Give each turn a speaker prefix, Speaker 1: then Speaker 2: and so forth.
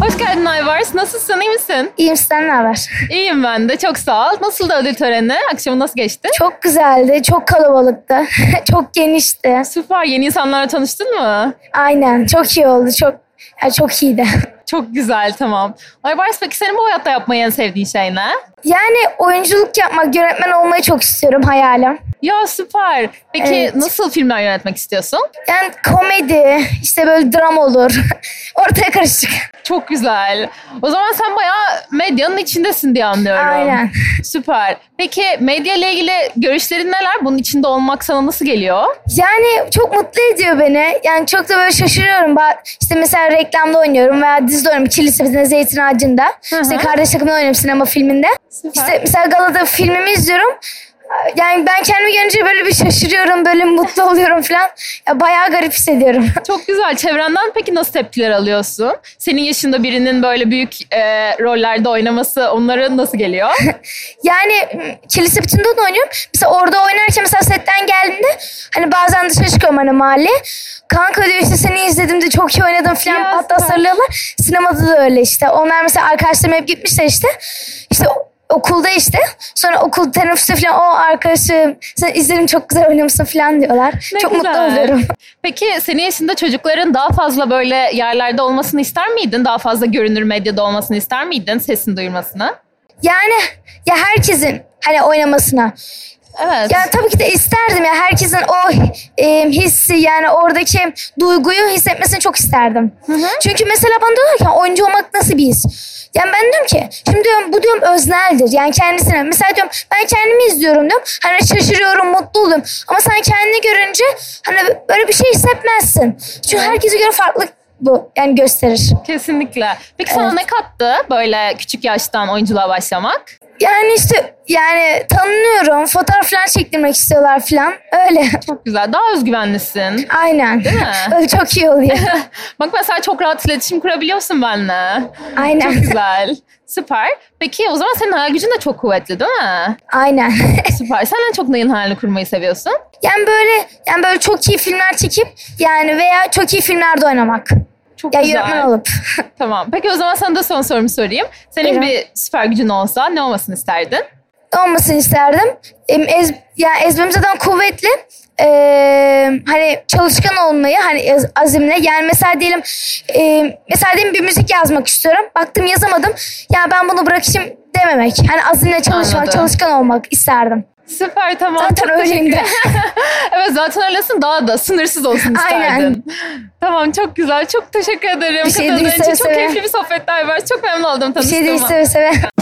Speaker 1: Hoş geldin Ayvars. Nasılsın? iyi misin?
Speaker 2: İyiyim sizden ne haber?
Speaker 1: İyiyim ben de. Çok sağ ol. Nasıldı ödül töreni? Akşamı nasıl geçti?
Speaker 2: Çok güzeldi, çok kalabalıktı, çok genişti.
Speaker 1: Süper. Yeni insanlarla tanıştın mı?
Speaker 2: Aynen, çok iyi oldu, çok ya çok iyiydi.
Speaker 1: Çok güzel. Tamam. Ayvars peki senin bu hayatta yapmayı en sevdiğin şey ne?
Speaker 2: Yani oyunculuk yapmak, yönetmen olmayı çok istiyorum hayalim.
Speaker 1: Ya süper. Peki
Speaker 2: Evet.
Speaker 1: nasıl filmler yönetmek istiyorsun?
Speaker 2: Yani komedi, işte böyle dram olur. Ortaya karışık.
Speaker 1: Çok güzel. O zaman sen bayağı medyanın içindesin diye anlıyorum.
Speaker 2: Aynen.
Speaker 1: Süper. Peki medya ile ilgili görüşlerin neler? Bunun içinde olmak sana nasıl geliyor?
Speaker 2: Yani çok mutlu ediyor beni. Yani çok da böyle şaşırıyorum. Ba- İşte mesela reklamda oynuyorum veya dizide oynuyorum. Kilisesinde Zeytin Ağacı'nda.
Speaker 1: hı.
Speaker 2: İşte kardeş takımda oynuyorum sinema filminde.
Speaker 1: Süper.
Speaker 2: İşte mesela galada filmimi izliyorum. Yani ben kendimi görünce böyle bir şaşırıyorum, böyle mutlu oluyorum falan. Ya bayağı garip hissediyorum.
Speaker 1: Çok güzel. Çevrenden peki nasıl tepkiler alıyorsun? Senin yaşında birinin böyle büyük e, rollerde oynaması onlara nasıl geliyor?
Speaker 2: Yani m, kilise bütünde de oynuyorum. Mesela orada oynarken mesela setten geldiğinde hani bazen dışarı çıkıyorum hani mahalle. Kanka diyor işte seni izledim de çok iyi oynadın falan.
Speaker 1: Ya
Speaker 2: Hatta
Speaker 1: süper.
Speaker 2: sarılıyorlar. Sinemada da öyle işte. Onlar mesela arkadaşlarım hep gitmişler işte. İşte o- okulda işte. Sonra okul teneffüsü falan o arkadaşım sen izledim çok güzel oynamışsın falan diyorlar.
Speaker 1: Ne
Speaker 2: çok mutlu
Speaker 1: güzel.
Speaker 2: oluyorum.
Speaker 1: Peki senin yaşında çocukların daha fazla böyle yerlerde olmasını ister miydin? Daha fazla görünür medyada olmasını ister miydin? Sesini duyurmasını?
Speaker 2: Yani ya herkesin hani oynamasına.
Speaker 1: Evet.
Speaker 2: Ya tabii ki de isterdim ya herkesin o e, hissi yani oradaki duyguyu hissetmesini çok isterdim. Çünkü mesela bana diyorlar ki oyuncu olmak nasıl bir his? Yani ben diyorum ki şimdi diyorum bu diyorum özneldir. Yani kendisine mesela diyorum ben kendimi izliyorum diyorum. Hani şaşırıyorum mutlu oluyorum. Ama sen kendini görünce hani böyle bir şey hissetmezsin. Çünkü herkese göre farklı bu yani gösterir.
Speaker 1: Kesinlikle. Peki sana
Speaker 2: Evet.
Speaker 1: ne kattı böyle küçük yaştan oyunculuğa başlamak?
Speaker 2: Yani işte yani tanınıyorum fotoğraf falan çektirmek istiyorlar falan öyle.
Speaker 1: Çok güzel. Daha özgüvenlisin.
Speaker 2: Aynen.
Speaker 1: Değil mi?
Speaker 2: Öyle çok iyi oluyor.
Speaker 1: Bak mesela çok rahat iletişim kurabiliyorsun benimle. Çok
Speaker 2: Aynen.
Speaker 1: güzel. Süper. Peki o zaman senin hayal gücün de çok kuvvetli değil mi?
Speaker 2: Aynen.
Speaker 1: Süper. Sen en çok neyin hayalini kurmayı seviyorsun?
Speaker 2: yani böyle yani böyle çok iyi filmler çekip yani veya çok iyi filmlerde oynamak.
Speaker 1: Çok
Speaker 2: Ya
Speaker 1: güzel.
Speaker 2: yönetmen olup.
Speaker 1: Tamam. Peki o zaman sana da son sorumu sorayım. Senin
Speaker 2: Buyurun.
Speaker 1: bir süper gücün olsa ne olmasını isterdin?
Speaker 2: Olmasını isterdim. Em, Ez, yani ezberim zaten kuvvetli. Ee, hani çalışkan olmayı hani ez- azimle yani mesela diyelim e, mesela diyelim bir müzik yazmak istiyorum. Baktım yazamadım. Ya ben bunu bırakayım dememek. Hani azimle çalışmak,
Speaker 1: Anladım.
Speaker 2: çalışkan olmak isterdim.
Speaker 1: Süper tamam.
Speaker 2: Zaten
Speaker 1: Çok teşekkür-
Speaker 2: öyleyim de.
Speaker 1: evet zaten öylesin daha da sınırsız olsun isterdin.
Speaker 2: Aynen.
Speaker 1: Tamam çok güzel. Çok teşekkür ederim.
Speaker 2: Bir şey
Speaker 1: Katıldığın
Speaker 2: değil,
Speaker 1: için
Speaker 2: seve
Speaker 1: çok
Speaker 2: seve.
Speaker 1: keyifli bir sohbetler var. Çok memnun oldum
Speaker 2: Bir
Speaker 1: tanıştığıma.
Speaker 2: şey değil seve seve.